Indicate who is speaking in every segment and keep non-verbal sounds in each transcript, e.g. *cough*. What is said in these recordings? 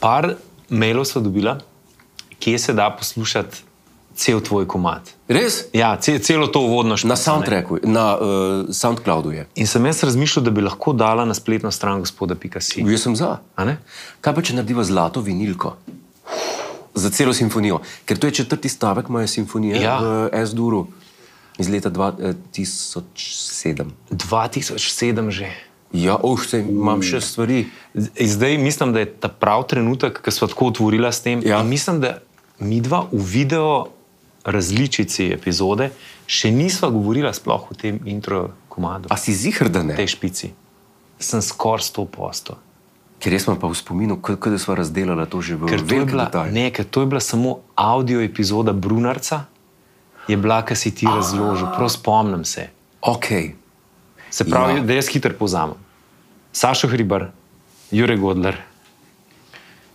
Speaker 1: Par mailov so dobila, kje se da poslušati cel tvoj komat.
Speaker 2: Res?
Speaker 1: Ja, ce, celo to uvodno še
Speaker 2: Na soundtracku, na uh, SoundCloudu je.
Speaker 1: In sem jaz razmišljal, da bi lahko dala na spletno stran gospoda Pikasi.
Speaker 2: Jaz sem za. Kaj pa, če narediva zlato vinilko? Za celo simfonijo, ker to je četrti stavek moje simfonije
Speaker 1: Ja.
Speaker 2: ja. v S-duru iz leta eh, 2007.
Speaker 1: 2007 že.
Speaker 2: Ja, oh, sej, imam še stvari.
Speaker 1: Z- Zdaj mislim, da je ta prav trenutek, ki smo tako otvorili s tem.
Speaker 2: Ja.
Speaker 1: In Mislim, da mi dva v video različici epizode še nisva govorila sploh o tem intro komadu,
Speaker 2: A si zihar, da ne?
Speaker 1: tej špici. Sem skoraj 100 posto.
Speaker 2: Ker jaz sem pa v spominu, kot da smo razdelali to že v
Speaker 1: Ker to, je
Speaker 2: veliki
Speaker 1: bila,
Speaker 2: detajl.
Speaker 1: ne, ker to je bila samo audio epizoda Brunarca, je bila, ki si ti razložil, prav spomnim se.
Speaker 2: Ok,
Speaker 1: Se pravi,
Speaker 2: Ja.
Speaker 1: ja. da jaz hitro povzamem. Sašo Hribar, Jurek Godler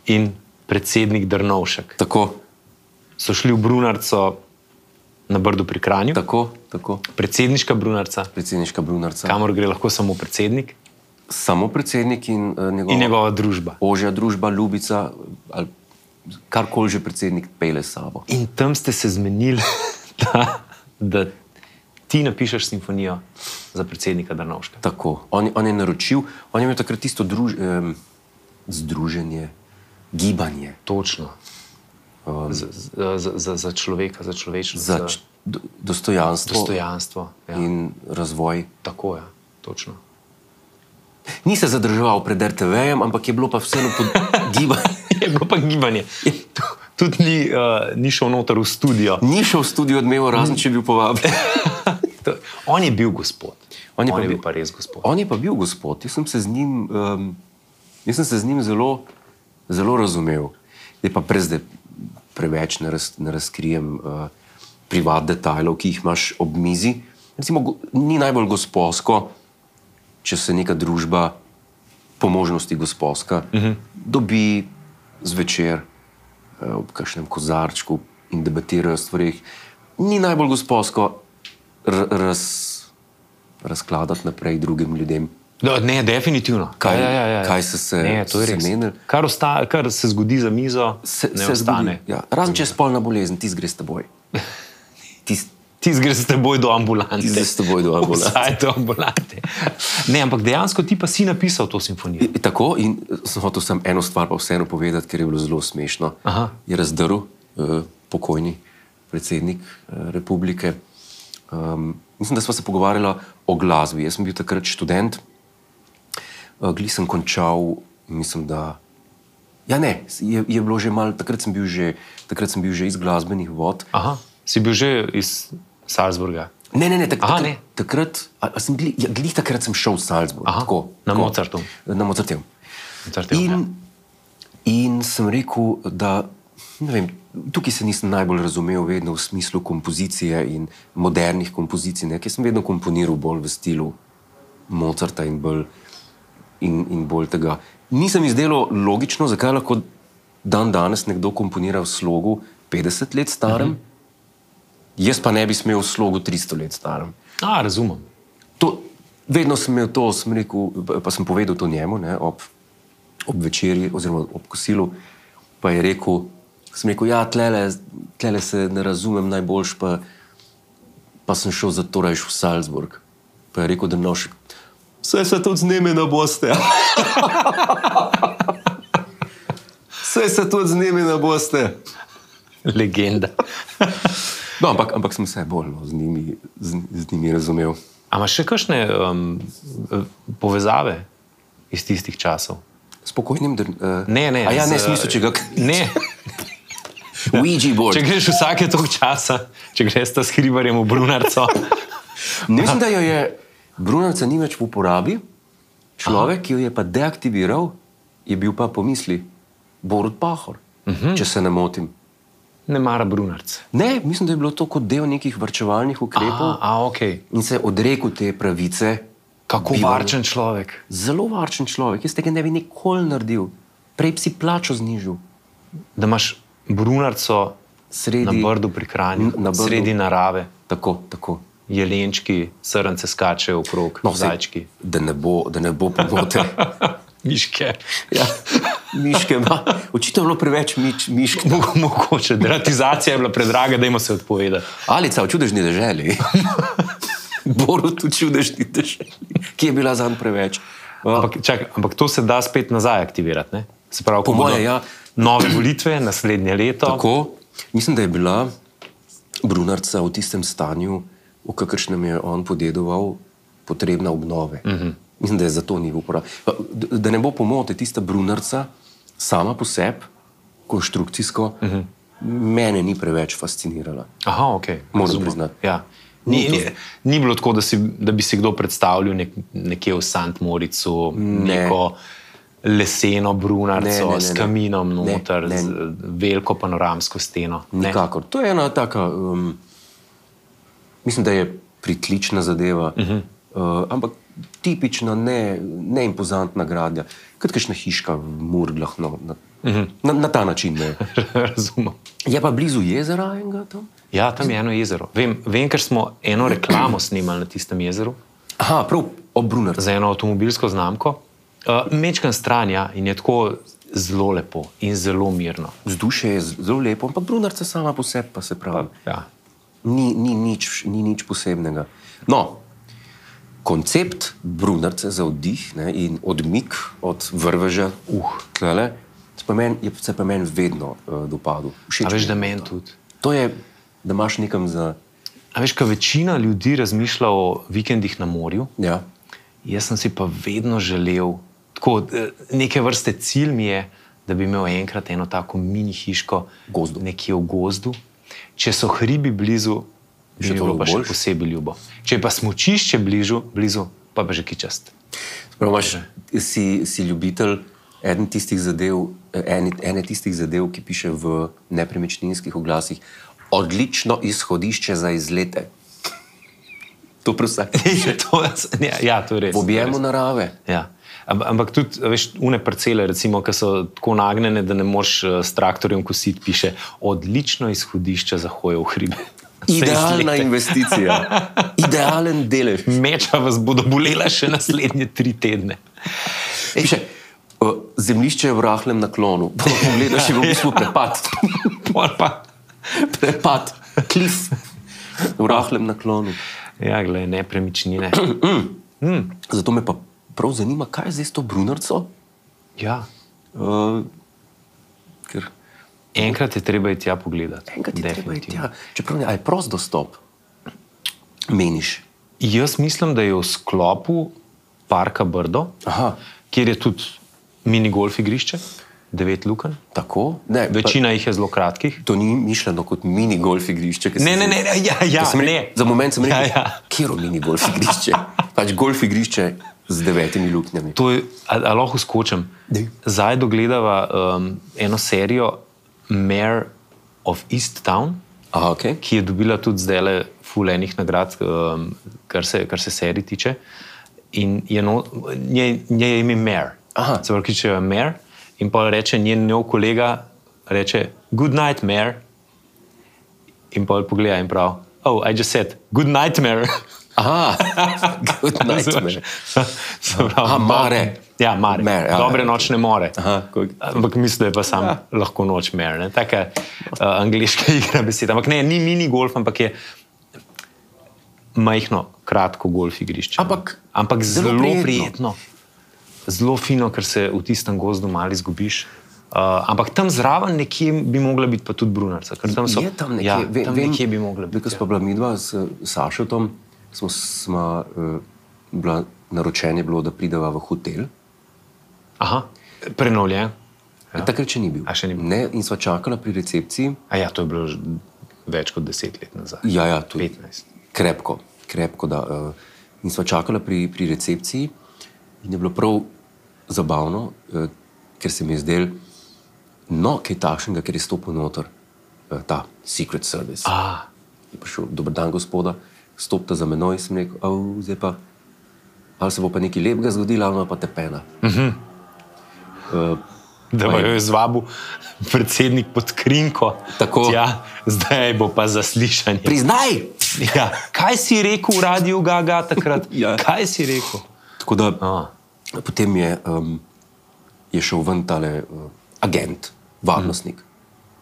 Speaker 1: in predsednik Drnovšek
Speaker 2: tako,
Speaker 1: so šli v Brunarco na Brdu pri Kranju, Tako.
Speaker 2: tako, tako.
Speaker 1: predsedniška Brunarca,
Speaker 2: Predsedniška Brunarca.
Speaker 1: kamor gre lahko samo predsednik
Speaker 2: Samo predsednik in, uh, njegova,
Speaker 1: in njegova družba.
Speaker 2: ožja družba, ljubica ali karkoli že predsednik pele s sabo.
Speaker 1: In tam ste se zmenili, *laughs* da, da ti napišeš simfonijo za predsednika Drnovška.
Speaker 2: Tako. On, on je naročil, on je imel takrat tisto druž, um, združenje, gibanje.
Speaker 1: Točno. Z, z, z- za, za človeka, za človečnost,
Speaker 2: Za č- do, dostojanstvo,
Speaker 1: dostojanstvo. Ja.
Speaker 2: in razvoj.
Speaker 1: Tako je, ja. točno.
Speaker 2: Ni se zadrževal pred RTV-jem, ampak je bilo pa vseeno pod *laughs* gibanjem.
Speaker 1: *laughs* Je bilo pa gibanje. Tu- Tudi ni, uh, ni šel noter v studio.
Speaker 2: Ni šel v studio odmeval, razen če je bil povabljen.
Speaker 1: To, on je bil gospod.
Speaker 2: On je pa
Speaker 1: on
Speaker 2: bil-
Speaker 1: bil pa res gospod.
Speaker 2: On je pa bil gospod, jaz sem se z njim, um, jaz sem se z njim zelo, zelo razumel. Je pa brez, da preveč ne, raz, ne razkrijem uh, privat detajlov, ki jih imaš ob mizi. Recimo, go- ni najbolj gospodsko, če se neka družba, po možnosti gospodska, uh -huh. dobi zvečer eh, ob kakšnem kozarčku in debatirajo o stvarih. Ni najbolj gospodsko r- raz, razkladati naprej drugim ljudem.
Speaker 1: Da, ne, definitivno.
Speaker 2: Kaj-
Speaker 1: ja, ja, ja.
Speaker 2: kaj se- se-
Speaker 1: ne, to je
Speaker 2: se
Speaker 1: res.
Speaker 2: menil?
Speaker 1: Kar, osta, kar se zgodi za mizo,
Speaker 2: Se,
Speaker 1: se, ne
Speaker 2: se
Speaker 1: se ostane.
Speaker 2: zgodi. Ja. Razen če je spolna bolezen, ti zgre s teboj. Ti s-
Speaker 1: Ti greš s teboj do ambulante.
Speaker 2: Ti greš s teboj do ambulante.
Speaker 1: *laughs* Vsaj do ambulante. Ne, ampak dejansko ti pa si napisal to simfonijo.
Speaker 2: I- Tako in eh, sem hotel samo eno stvar, pa vseeno povedati, ker je bilo zelo smešno.
Speaker 1: Aha.
Speaker 2: Je razdrl eh, pokojni predsednik eh, republike. Um, mislim, da smo se pogovarjali o glasbi. Jaz sem bil takrat študent, uh, glej sem končal, mislim, da. Ja, ne, s- je, je bilo že malo, takrat sem bil že, takrat sem bil že iz glasbenih vod.
Speaker 1: Aha, si bil že iz Salzburga.
Speaker 2: Ne, ne, ne, tak,
Speaker 1: Aha,
Speaker 2: takrat,
Speaker 1: ne.
Speaker 2: takrat, a, a sem glih, ja, glih takrat sem šel v Salzburg.
Speaker 1: Aha,
Speaker 2: tako,
Speaker 1: na
Speaker 2: tako.
Speaker 1: Mozartu.
Speaker 2: Na Mozartu.
Speaker 1: Mozarteum, ja.
Speaker 2: In, in sem rekel, da ne vem, tukaj se nisem najbolj razumel, vedno v smislu kompozicije in modernih kompozicij, ne, ker sem vedno komponiral bolj v stilu Mozarta in bolj, in, in bolj tega. Nisem izdelal logično, zakaj lahko dan danes nekdo komponira v slogu 50 let starem, uh -huh. jaz pa ne bi smel v slogu 300 let starem.
Speaker 1: A, razumem.
Speaker 2: To, vedno sem imel to, sem rekel, pa- pa sem povedal to njemu ne, ob, ob večerji, oziroma ob kosilu. Pa je rekel, sem rekel, ja, tlele, tlele se ne razumem najboljš, pa, pa sem šel za to rajš v Salzburg. Pa je rekel, da noš. Vse se tudi z njimi ne boste. *laughs* Vse se tudi z njimi ne boste.
Speaker 1: Legenda.
Speaker 2: No, ampak, ampak sem se bolj no, z, njimi, z, z njimi razumel.
Speaker 1: A imaš še kakšne um, povezave iz tistih časov?
Speaker 2: Spokojnim, da
Speaker 1: Ne, ne.
Speaker 2: A ja, ne,
Speaker 1: z-
Speaker 2: smisel, če ga
Speaker 1: Ne,
Speaker 2: Ouija board.
Speaker 1: če greš vsake tog časa, če greš ta s hribarjem v
Speaker 2: *laughs*
Speaker 1: Brunarco.
Speaker 2: Ne mislim, da jo je Brunovca ni več v uporabi, človek, Aha. ki jo je pa deaktiviral, je bil pa pomisli Borod Pahor, uh
Speaker 1: Mhm.
Speaker 2: -huh. če se ne motim.
Speaker 1: Ne mara Brunarce.
Speaker 2: Ne, mislim, da je bilo to kot del nekih vrčevalnih ukrepov
Speaker 1: A,
Speaker 2: Aha.
Speaker 1: a, ok.
Speaker 2: in se je odrekel te pravice.
Speaker 1: Kako
Speaker 2: bivanju.
Speaker 1: varčen človek.
Speaker 2: Zelo varčen človek, jaz tega ne bi nikoli naredil, prej bi si plačo znižil.
Speaker 1: Da imaš Brunarco
Speaker 2: sredi,
Speaker 1: na brdu pri Kranju,
Speaker 2: Na Brdu.
Speaker 1: sredi narave,
Speaker 2: Tako, tako.
Speaker 1: jelenčki, srnce skačejo okrog, no,
Speaker 2: saj,
Speaker 1: zajčki,
Speaker 2: Da ne bo, da ne bo pomote.
Speaker 1: *laughs* miške.
Speaker 2: ja, miške ima. Očitno je bilo preveč miš, mišk.
Speaker 1: Mogo- Mogoče, deratizacija je bila predraga, da jim se odpovedati.
Speaker 2: Alica v čudežni deželi. *laughs* Borut v čudežni deželi, ki je bila zanj preveč.
Speaker 1: Ampak, čak, ampak to se da spet nazaj aktivirati. Ne? Se pravi, ko
Speaker 2: Po moje,
Speaker 1: bodo
Speaker 2: ja.
Speaker 1: Nove volitve naslednje leto.
Speaker 2: Tako, mislim, da je bila Brunarca v tistem stanju, v kakršnem je on podedoval, potrebna obnove. Uh -huh. Mislim, da je zato ni uporabljena. Da ne bo pomote, tista Brunarca sama po sebi, konstrukcijsko, uh -huh. mene ni preveč fascinirala.
Speaker 1: Aha, ok. razumem.
Speaker 2: priznati.
Speaker 1: Ja.
Speaker 2: Ni
Speaker 1: Ni,
Speaker 2: to-
Speaker 1: ni, ni bilo tako, da, si, da bi si kdo predstavljal nek, nekje v St. Moricu ne. neko leseno brunarico
Speaker 2: Ne, ne, ne, ne.
Speaker 1: s kaminom
Speaker 2: Ne,
Speaker 1: noter,
Speaker 2: ne.
Speaker 1: z veliko panoramsko steno. Ne.
Speaker 2: Nikakor. To je ena taka, um, mislim, da je pritlična zadeva, uh -huh. uh, ampak tipična, ne, neimpozantna gradnja, kot kakšna hiška v Murglah. No, na, uh -huh. na, na ta način je.
Speaker 1: *laughs* Razumem.
Speaker 2: Je pa blizu jezera enega tam.
Speaker 1: Ja, tam je eno jezero. Vem, vem, ker smo eno reklamo snemali na tistem jezeru
Speaker 2: Aha, prav ob Brunarju.
Speaker 1: za eno avtomobilsko znamko. Uh, Mečkan stran ja, in je tako zelo lepo in zelo mirno.
Speaker 2: Vzdušje je z- zelo lepo, ampak Brunarca sama po sebi, pa se pravi.
Speaker 1: Ja.
Speaker 2: Ni, ni, nič, ni nič posebnega. No, koncept brunarce za vdih ne, in odmik od vrveža, uh, tlele, se pa meni je- se pa meni vedno uh, dopadlo. Všeč
Speaker 1: A
Speaker 2: mi
Speaker 1: veš,
Speaker 2: je
Speaker 1: da
Speaker 2: bilo
Speaker 1: meni
Speaker 2: to.
Speaker 1: tudi.
Speaker 2: To je, da imaš nekam za.
Speaker 1: A veš, kaj večina ljudi razmišlja o vikendih na morju,
Speaker 2: Ja.
Speaker 1: jaz sem si pa vedno želel, tako eh, neke vrste cilj mi je, da bi imel enkrat eno tako mini hiško,
Speaker 2: Gozdu.
Speaker 1: nekje v gozdu. Če so hribi blizu, bi
Speaker 2: Še
Speaker 1: mi bilo
Speaker 2: toliko
Speaker 1: pa še
Speaker 2: boljše.
Speaker 1: posebej ljubo. Če je pa smočišče blizu, blizu pa pa že
Speaker 2: *laughs*
Speaker 1: kičast.
Speaker 2: Prav, imaš, si, si ljubitelj eden tistih zadev, eh, ene, ene tistih zadev, ki piše v nepremičninskih oglasih. Odlično izhodišče za izlete. To
Speaker 1: *laughs*
Speaker 2: prosim.
Speaker 1: to, je- ja, ja, to je res. to je
Speaker 2: V
Speaker 1: res.
Speaker 2: objemu narave.
Speaker 1: Ja. Am- Ampak tudi, a veš, une parcele, recimo, ki so tako nagnjene, da ne moreš eh, s traktorjem kositi, piše odlično izhodišče za hoje v *laughs* hribe. Se
Speaker 2: Idealna
Speaker 1: izlete.
Speaker 2: investicija, *laughs* idealen delež.
Speaker 1: Meča vas bodo bolela še naslednje tri tedne.
Speaker 2: Piše, uh, zemljišče je v rahlem naklonu. Pa Pogledaš, je bil v bistvu prepad, *laughs*
Speaker 1: Pol pa,
Speaker 2: prepad, klif v rahlem naklonu.
Speaker 1: ja, glej, nepremičnine.
Speaker 2: Zato me pa prav zanima, kaj je zdaj s to brunarco.
Speaker 1: Ja.
Speaker 2: Uh, ker
Speaker 1: Enkrat je treba iti tja pogledati.
Speaker 2: enkrat je treba iti
Speaker 1: Definitivno.
Speaker 2: ja. tja. Čeprav ne, a je prost dostop, meniš.
Speaker 1: Jaz mislim, da je v sklopu parka Brdo,
Speaker 2: Aha,
Speaker 1: kjer je tudi mini golf igrišče, devet luken.
Speaker 2: tako? Ne, pa-
Speaker 1: Večina jih je zelo kratkih.
Speaker 2: To ni mišljeno kot mini golf igrišče. ki
Speaker 1: Ne,
Speaker 2: se-
Speaker 1: ne, ne, ja, ja,
Speaker 2: Ker sem rekel-
Speaker 1: ne.
Speaker 2: Za moment sem
Speaker 1: Ja,
Speaker 2: rekel, ja,
Speaker 1: ja.
Speaker 2: ja. kje je mini golf igrišče. Pač golf igrišče z devetimi luknjami.
Speaker 1: To je, ali ali lahko skočim.
Speaker 2: Daj.
Speaker 1: Zdaj dogledava um, eno serijo Mayor of East Town,
Speaker 2: Aha, okay.
Speaker 1: ki je dobila tudi zdaj le fulejnih nagrad, um, kar, se, kar se serij tiče. In je no, nje, nje je ime Mayor.
Speaker 2: Aha.
Speaker 1: Se pravi, kličejo jo Mayor in pa reče njen nov kolega, reče Good night, Mayor. In pa pogleda in pravi, oh, I just said, good *laughs* nightmare.
Speaker 2: Aha, *laughs* good
Speaker 1: *laughs*
Speaker 2: nightmare.
Speaker 1: Razumeš? Se pravi,
Speaker 2: Aha,
Speaker 1: do-
Speaker 2: mare.
Speaker 1: Ja, mare.
Speaker 2: Mare, ja,
Speaker 1: Dobre
Speaker 2: ja,
Speaker 1: nočne more.
Speaker 2: Aha, ko-
Speaker 1: Ampak mislim, da je pa sam ja. lahko noč mer. ne. Taka uh, *laughs* angliška igra beseda. Ampak ne, ni mini golf, ampak je majhno, kratko golf igrišče. no.
Speaker 2: Ampak
Speaker 1: ampak
Speaker 2: zelo
Speaker 1: zelo, zelo prijetno.
Speaker 2: prijetno.
Speaker 1: prijetno, zelo fino, ker se v tistem gozdu malo izgubiš. Uh, ampak tam zraven nekje bi mogla biti pa tudi brunarca. ker Tam so,
Speaker 2: Je tam nekje,
Speaker 1: ja,
Speaker 2: ve-
Speaker 1: tam
Speaker 2: vem,
Speaker 1: nekje bi mogla biti. ja.
Speaker 2: Ko smo bila midva s Sašotom, smo, smo uh, bila, naročen je bilo, da prideva v hotel.
Speaker 1: Aha, prenovljen.
Speaker 2: Ja. Takrat še ni bil.
Speaker 1: A, še ni bil.
Speaker 2: Ne, in sva čakala pri recepciji.
Speaker 1: A ja, to je bilo že več kot deset let nazaj.
Speaker 2: Ja, ja, tudi
Speaker 1: 15.
Speaker 2: Krepko, krepko da. Uh, in smo čakali pri, pri recepciji, in je bilo prav zabavno, uh, ker se mi je zdel, no, kaj takšnega, ker je stopil noter uh, ta Secret Service.
Speaker 1: Ah,
Speaker 2: Je prišel, dober dan, gospoda, stopite za menoj, sem rekel, "Au, zdaj pa. Ali se bo pa nekaj lepega zgodilo, ali pa tepena. Uh -huh. uh,
Speaker 1: da
Speaker 2: Pa
Speaker 1: bo
Speaker 2: je-
Speaker 1: jo izvabil predsednik pod krinko.
Speaker 2: Tako.
Speaker 1: Ja, zdaj bo pa zaslišanje.
Speaker 2: Priznaj!
Speaker 1: Ja, kaj si rekel v radiju Gaga takrat?
Speaker 2: *laughs* Ja.
Speaker 1: Kaj si rekel?
Speaker 2: Tako da eh,
Speaker 1: A.
Speaker 2: Potem je, um, je šel ven tale uh, agent, varnostnik.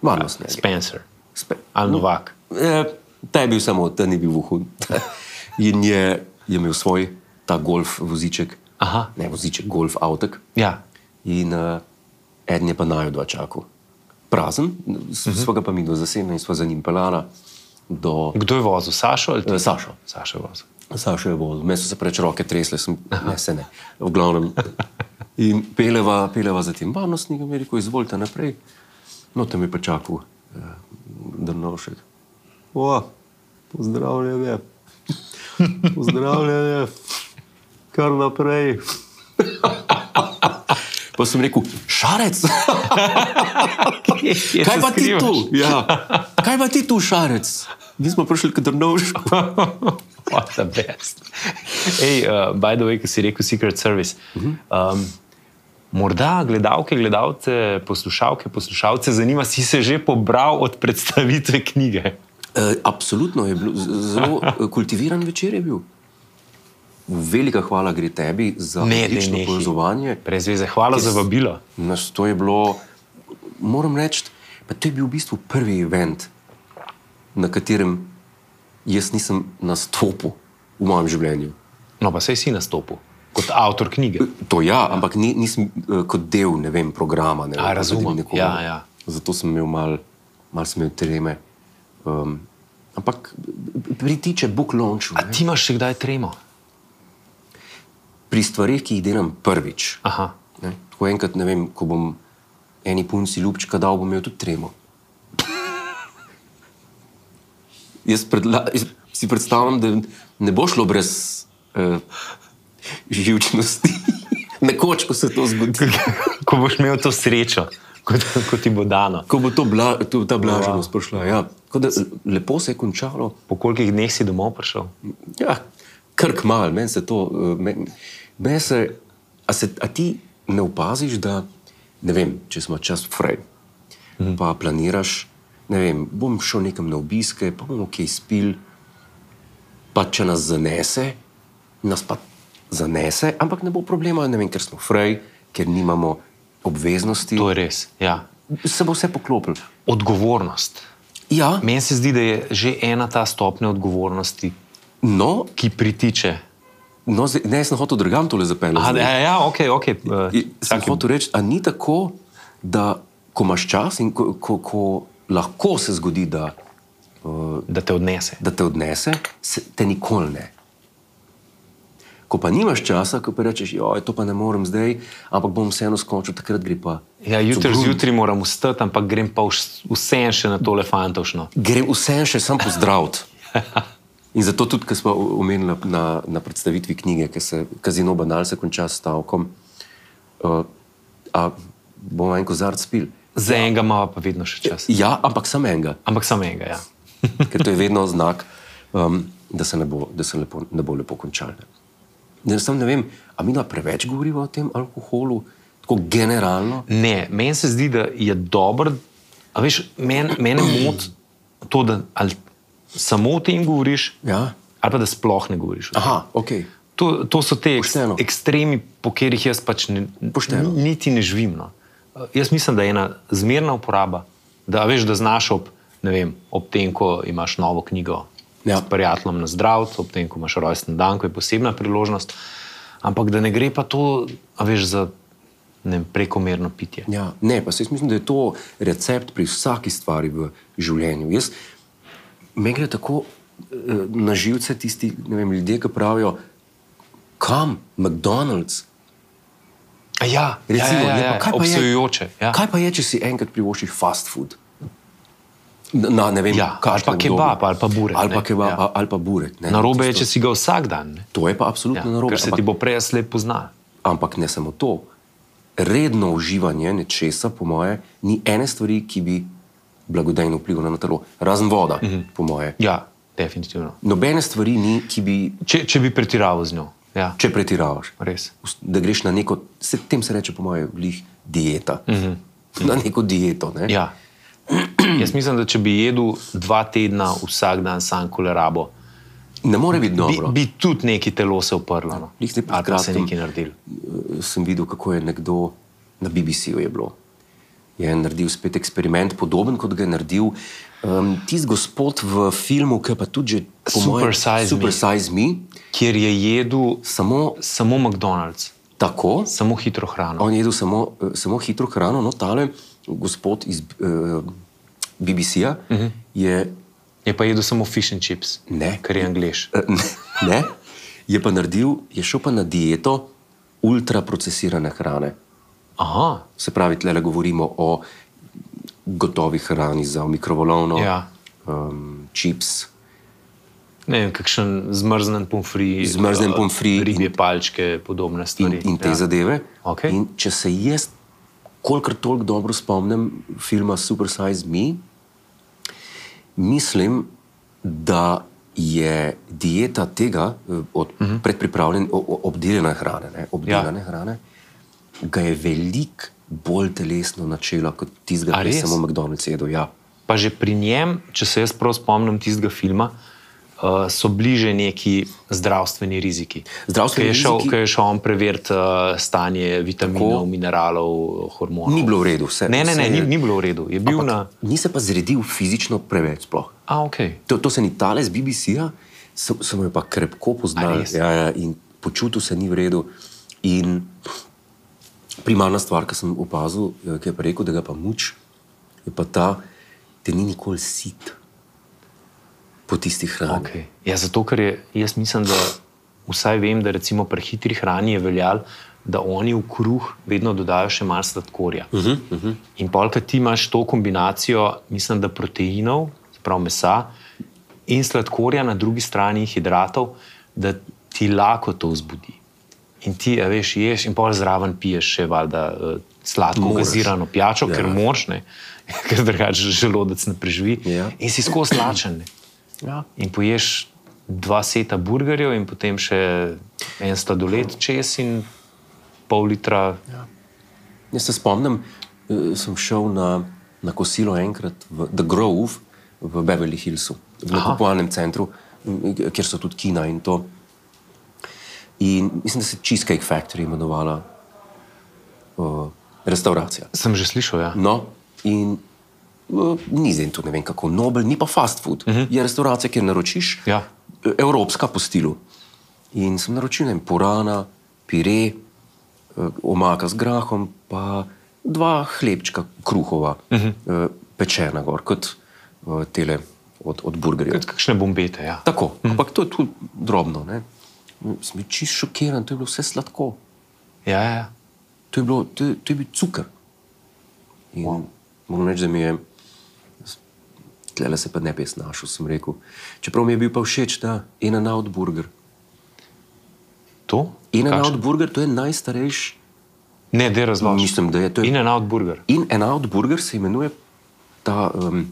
Speaker 2: Varnostni agent.
Speaker 1: Spencer
Speaker 2: Spe-
Speaker 1: ali Novak.
Speaker 2: Eh, ta je bil samo, ta ni bil vohun. *laughs* In je, je imel svoj ta golf voziček,
Speaker 1: Aha.
Speaker 2: ne voziček, golf avtek.
Speaker 1: Ja.
Speaker 2: In uh, eden je pa naju dva čakal. Prazen, s- sva ga pa mi do zasedla in sva za njim pelala do
Speaker 1: Kdo je vozil? Sašo ali ti?
Speaker 2: uh, Saša.
Speaker 1: Sašo je vozil.
Speaker 2: Saša je vozil, meni so se preveč roke tresle, sem, ne, se ne, v glavnem. In peleva, peleva za tem varnostnikom, je rekel, izvolite naprej. No, tam je pa čakal, eh, Drnovšek. O, pozdravljen je, pozdravljen je, kar naprej. Pa sem rekel, šarec, kaj pa ti tu? Ja. *laughs* Kaj pa ti tu, šarec? Mi smo prišli k Drnovšku.
Speaker 1: What the best. Ej, uh, by the way, ki si rekel Secret Service. Um, morda gledalke, gledalce, poslušalke, poslušalce zanima, si se že pobral od predstavitve knjige.
Speaker 2: E, absolutno je bilo z- zelo eh, kultiviran večer. je bil. Velika hvala gre tebi za
Speaker 1: Ne, daj
Speaker 2: odlično
Speaker 1: nehaj.
Speaker 2: povezovanje.
Speaker 1: Brez veze, hvala za vabilo.
Speaker 2: Nas to je bilo, moram reči, pa to je bil v bistvu prvi event, na katerem jaz nisem nastopil v mojem življenju.
Speaker 1: No, pa sej si nastopil kot avtor knjige.
Speaker 2: To ja, ampak ni, nisem eh, kot del ne vem, programa. Ne
Speaker 1: A,
Speaker 2: vem,
Speaker 1: razumem.
Speaker 2: pozabil nekoga.
Speaker 1: Ja, ja.
Speaker 2: Zato sem imel malo mal treme. Um, ampak pritiče book launchu.
Speaker 1: A
Speaker 2: ne.
Speaker 1: ti imaš še kdaj tremo?
Speaker 2: pri stvarih, ki jih delam prvič.
Speaker 1: Aha. *laughs*
Speaker 2: Ne? Tako enkrat, ne vem, ko bom eni punci ljubčka dal, bom imel tudi tremo. *laughs* Jaz, predla, jaz si predstavljam, da ne bo šlo brez eh, živčnosti. *laughs* Nekoč, ko se to zgodi,
Speaker 1: Ko boš imel to srečo, kot, kot ti bo dano.
Speaker 2: ko bo to bla, to, ta blaženost prišla. Ja. Tako Da, lepo se je končalo,
Speaker 1: Po kolikih dneh si domov prišel?
Speaker 2: Ja, krk mal, meni se to. eh, men- Meni se, a, se, a ti ne opaziš, da ne vem, če smo čas fraj, mm. pa planiraš, ne vem, bom šel nekam na obiske, pa bomo kaj spil, pa če nas zanese, nas pa zanese, ampak ne bo problema, ne vem, ker smo fraj, ker nimamo obveznosti,
Speaker 1: To je res. Ja.
Speaker 2: se bo vse poklopilo.
Speaker 1: Odgovornost.
Speaker 2: Ja,
Speaker 1: Meni se zdi, da je že ena ta stopnja odgovornosti,
Speaker 2: no,
Speaker 1: ki pritiče.
Speaker 2: no zdaj- ne, jaz sem hotel drugam tole zapeljati.
Speaker 1: A, ja, ja, ok, ok.
Speaker 2: I-
Speaker 1: eh,
Speaker 2: Sem
Speaker 1: vsaki-
Speaker 2: hotel reči, da ni tako, da ko imaš čas in ko, ko, ko lahko se zgodi, da, uh,
Speaker 1: Da te odnese.
Speaker 2: da te odnese, se, te nikoli ne. Ko pa nimaš časa, ko pa rečeš, da to pa ne morem zdaj, ampak bom vseeno skočil, takrat gre pa.
Speaker 1: Ja, jutri
Speaker 2: Cobrun.
Speaker 1: zjutraj moram vstati, ampak grem pa vse še na tole fantošno.
Speaker 2: Grem vseeno še sam pozdraviti. In zato tudi, ko smo o- omenili na, na predstavitvi knjige, ki se kazino banal se konča s stavkom, uh, a bomo en kozarc spil.
Speaker 1: Za enega ima pa vedno še čas.
Speaker 2: Ja, ampak samo enega,
Speaker 1: Ampak samo enega, ja.
Speaker 2: ker to je vedno znak, um, da se ne bo, da se lepo, ne bo lepo končal. ne. Ne, sam ne vem, ali mi da preveč govorimo o tem alkoholu, tako generalno.
Speaker 1: Ne, meni se zdi, da je dobro. a Veš, men, mene moti to, da ali samo o tem govoriš,
Speaker 2: Ja.
Speaker 1: ali pa da sploh ne govoriš. o tem.
Speaker 2: Aha, ok.
Speaker 1: To, to so te ek,
Speaker 2: Pošteno.
Speaker 1: ekstremi, po katerih jaz pač ne,
Speaker 2: Pošteno.
Speaker 1: ni- niti ne živim. No. Eh, Jaz mislim, da je ena zmerna uporaba, da veš, da znaš ob, ne vem, ob tem, ko imaš novo knjigo
Speaker 2: Ja.
Speaker 1: s prijateljem na zdravju, ob tem, ko imaš rojsten dan, ko je posebna priložnost. Ampak da ne gre pa to, a veš, za ne vem, prekomerno pitje.
Speaker 2: Ja. Ne, pa se jaz mislim, da je to recept pri vsaki stvari v življenju. Jaz, me gre tako eh, na živce tisti ne vem, ljudje, ki pravijo, kam, McDonald's.
Speaker 1: A Ja,
Speaker 2: Recimo,
Speaker 1: ja, ja,
Speaker 2: je
Speaker 1: ja,
Speaker 2: pa- kaj pa je-
Speaker 1: obsojujoče. Ja.
Speaker 2: Kaj pa je, če si enkrat privoščiš fast food? Na, ne vem,
Speaker 1: Ja, ali pa
Speaker 2: kakšnem
Speaker 1: kebab,
Speaker 2: obdobju.
Speaker 1: ali pa burek,
Speaker 2: Ali
Speaker 1: ne.
Speaker 2: pa kebab,
Speaker 1: Ja.
Speaker 2: ja. ali pa burek. Ne,
Speaker 1: Narobe je,
Speaker 2: Tisto-
Speaker 1: če si ga vsak dan. Ne?
Speaker 2: To je pa absolutno
Speaker 1: Ja,
Speaker 2: ja, narobe.
Speaker 1: ker se ti
Speaker 2: Ampak,
Speaker 1: bo prej slej poznal.
Speaker 2: ampak ne samo to. Redno uživanje nečesa, po moje, ni ene stvari, ki bi blagodejno vplivala na telo, razen voda,
Speaker 1: Mhm.
Speaker 2: mm -hmm. po moje.
Speaker 1: Ja, definitivno.
Speaker 2: Nobene stvari ni, ki bi.
Speaker 1: Če, če bi pretiraval z njo. Ja.
Speaker 2: če pretiravaš.
Speaker 1: Res.
Speaker 2: Da greš na neko, se, tem se reče, po mojem, glih dieta. Mm -hmm. Na neko dieto. Ne?
Speaker 1: Mhm. Ja. Jaz mislim, da če bi jedel dva tedna vsak dan sam kolerabo,
Speaker 2: Ne more biti
Speaker 1: bi,
Speaker 2: dobro. Bi,
Speaker 1: bi tudi neki telo se uprlo. No.
Speaker 2: Glih zdaj pred
Speaker 1: Ali pa se
Speaker 2: kratkim-
Speaker 1: nekaj naredil.
Speaker 2: bi. Eh, Sem videl, kako je nekdo na BBC-ju je bilo. Je naredil spet eksperiment, podoben kot ga je naredil um, tisti gospod v filmu, ki je pa tudi že po
Speaker 1: Super
Speaker 2: mojem,
Speaker 1: Size Me.
Speaker 2: Super Size Me,
Speaker 1: Ker je jedel
Speaker 2: samo
Speaker 1: samo McDonald's,
Speaker 2: tako.
Speaker 1: samo hitro hrano.
Speaker 2: On je jedel samo, eh, samo hitro hrano, no tale gospod iz uh, BBC-ja uh
Speaker 1: Mhm.
Speaker 2: -huh. je
Speaker 1: Je pa jedel samo fish and chips,
Speaker 2: Ne.
Speaker 1: ker je angliš.
Speaker 2: eh, *laughs* ne, je pa naredil, je šel pa na dieto ultraprocesirane hrane.
Speaker 1: Aha,
Speaker 2: Se pravi, tle govorimo o gotovi hrani za v mikrovalovno,
Speaker 1: Ja.
Speaker 2: um, čips.
Speaker 1: ne vem, kakšen zmrznen pomfri,
Speaker 2: Zmrznjen pomfri in-
Speaker 1: ribje in, palčke, podobne
Speaker 2: in,
Speaker 1: stvari.
Speaker 2: in te ja. zadeve.
Speaker 1: Torej, Okej.
Speaker 2: In če se jaz, kolikor toliko dobro spomnim filma Super Size Me, mislim, da je dieta tega eh, od uh
Speaker 1: Mhm.
Speaker 2: -huh. predpripravljene, obdelane hrane, ne, obdelane ja. hrane, ga je veliko bolj telesno načela kot tistega,
Speaker 1: A
Speaker 2: ki je
Speaker 1: res?
Speaker 2: samo McDonald's jedel. Ja.
Speaker 1: Pa že pri njem, če se jaz prav spomnim tistega filma, uh, so bliže neki zdravstveni riziki.
Speaker 2: Zdravstveni
Speaker 1: Ker je šel,
Speaker 2: riziki-
Speaker 1: Ker je šel on preveriti uh, stanje vitaminov,
Speaker 2: Tako.
Speaker 1: Tako. mineralov, hormonov.
Speaker 2: Ni bilo v redu, vse.
Speaker 1: Ne, ne,
Speaker 2: vse
Speaker 1: ne
Speaker 2: je-
Speaker 1: ni, ni bilo v redu. Je bil Ampak, na.
Speaker 2: Ni se pa zredil fizično preveč. Sploh.
Speaker 1: A, okay.
Speaker 2: To, to se ni tale z BBC-ja, sem se jo pa krepko
Speaker 1: A
Speaker 2: poznal.
Speaker 1: res?
Speaker 2: Ja, ja, in počutil se ni v redu. In primarna stvar, ki sem opazil, eh, ki je pa rekel, da ga pa muč, je pa ta, da ni nikoli sit po tistih hrani.
Speaker 1: Okay. Ja, zato, ker je, jaz mislim, da vsaj vem, da recimo pri hitri hrani je veljal, da oni v kruh vedno dodajo še malo sladkorja. Uh
Speaker 2: Mhm,
Speaker 1: -huh, uh -huh. In polka ti imaš to kombinacijo, mislim, da proteinov, se pravi mesa in sladkorja, na drugi strani hidratov, da ti lahko to vzbudi. In ti, a veš, ješ in pol zraven piješ še valjda eh, sladko,
Speaker 2: Moraš.
Speaker 1: gazirano pijačo, ja. ker
Speaker 2: Ja.
Speaker 1: moraš, ne, *laughs* ker drugače želodec ne preživi.
Speaker 2: Ja.
Speaker 1: In si skozi lačen. ne
Speaker 2: Ja.
Speaker 1: in poješ dva seta burgerjev, in potem še en sladolet čez in pol litra. Ja.
Speaker 2: Jaz se spomnim, eh, sem šel na, na kosilo enkrat v The Grove v Beverly Hillsu, v nakupovalnem centru, m, kjer so tudi kina in to. In mislim, da se je Cheesecake Factory imenovala uh, restauracija.
Speaker 1: Sem že slišal, ja.
Speaker 2: No, in uh, ni zdaj to ne vem kako nobel, ni pa fast food. Uh -huh. Je restauracija, kjer naročiš,
Speaker 1: Mhm. Ja.
Speaker 2: eh, evropska po stilu. In sem naročil ne vem, porana, pire, eh, omaka z grahom, pa dva hlebčka kruhova, uh
Speaker 1: Mhm.
Speaker 2: -huh. pečena gor, kot eh, tele od, od burgerjev.
Speaker 1: Kot kakšne bombete. Ja.
Speaker 2: Tako, mm. ampak to je tu drobno. Ne? Sem bil čist šokiran, to je bilo vse sladko.
Speaker 1: Ja, ja, ja.
Speaker 2: To je, bilo, to je, to je bil cukor. In wow. Moram reči, da mi je, tlele se pa ne bi jaz našel, sem rekel. Čeprav mi je bil pa všeč ta In-N-Out burger.
Speaker 1: To?
Speaker 2: In-N-Out burger, to je najstarejši.
Speaker 1: Ne, da je razložen.
Speaker 2: Mislim, da je to.
Speaker 1: In en out burger.
Speaker 2: In-N-Out burger se imenuje ta um,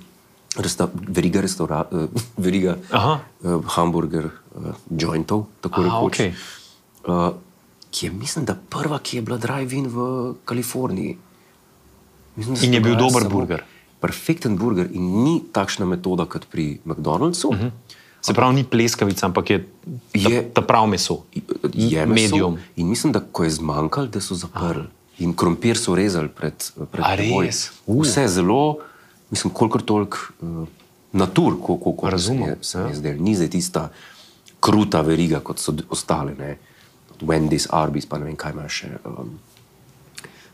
Speaker 2: resta, veriga, restaura, uh, *laughs* veriga
Speaker 1: Aha.
Speaker 2: uh, hamburger uh, jointov, tako
Speaker 1: Aha,
Speaker 2: rekoč.
Speaker 1: okej.
Speaker 2: Uh, ki je, mislim, da prva, ki je bila drive-in v Kaliforniji. Mislim, da se
Speaker 1: In je bil
Speaker 2: dogaja
Speaker 1: dober
Speaker 2: samo-
Speaker 1: burger.
Speaker 2: Perfekten burger in ni takšna metoda kot pri McDonald'su. Uh -huh.
Speaker 1: Se pravi, ni pleskavica, ampak je ta,
Speaker 2: Je-
Speaker 1: ta prav meso.
Speaker 2: Je medium.
Speaker 1: medium.
Speaker 2: In mislim, da ko je zmanjkalo, da so zaprli. In krompir so rezali pred, pred
Speaker 1: A
Speaker 2: teboj.
Speaker 1: res?
Speaker 2: Vse zelo, mislim, kolikor toliko uh, natur, koliko kot
Speaker 1: Razumem,
Speaker 2: Se
Speaker 1: ja.
Speaker 2: mi je zdelo. Ni zdaj tista kruta veriga, kot so d- ostale. Ne? Od Wendy's, Arby's, pa ne vem, kaj ima še. Um,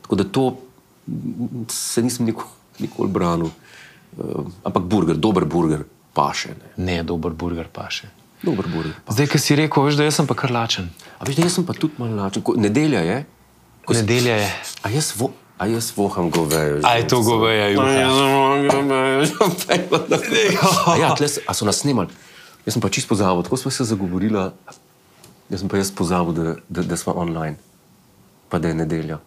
Speaker 2: tako da to mm, se nisem nikoli, nikoli branil. Uh, ampak burger, dober burger, pa še ne.
Speaker 1: Ne, dober burger pa še.
Speaker 2: Dober burger. Pa.
Speaker 1: Zdaj, ki si rekel, veš, da jaz sem pa kar lačen.
Speaker 2: A veš, da jaz sem pa tudi malo lačen. Ko, nedelja je. Ko sem-
Speaker 1: Nedelja je.
Speaker 2: A jaz, vo, a jaz voham govejo.
Speaker 1: A je to goveja juha.
Speaker 2: Ja. A, ja, tles, a so nas snimali. Jaz sem pa čisto pozabil, tako smo se zagovorili. Jaz sem pa jaz pozabil, da, da, da smo online, pa da je nedelja.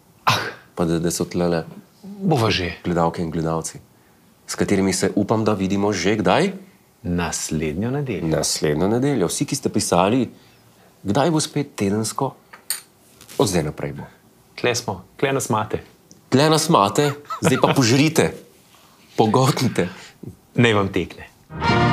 Speaker 2: Pa da, da so tlele
Speaker 1: Bova že.
Speaker 2: gledalke in gledalci, s katerimi se upam, da vidimo že kdaj.
Speaker 1: Naslednjo nedeljo.
Speaker 2: Naslednjo nedeljo. Vsi, ki ste pisali, Kdaj bo spet tedensko, od zdaj naprej bo.
Speaker 1: Kle smo, kle nas imate.
Speaker 2: Tle nas imate, zdaj pa požrite, pogotnite.
Speaker 1: Naj vam tekne.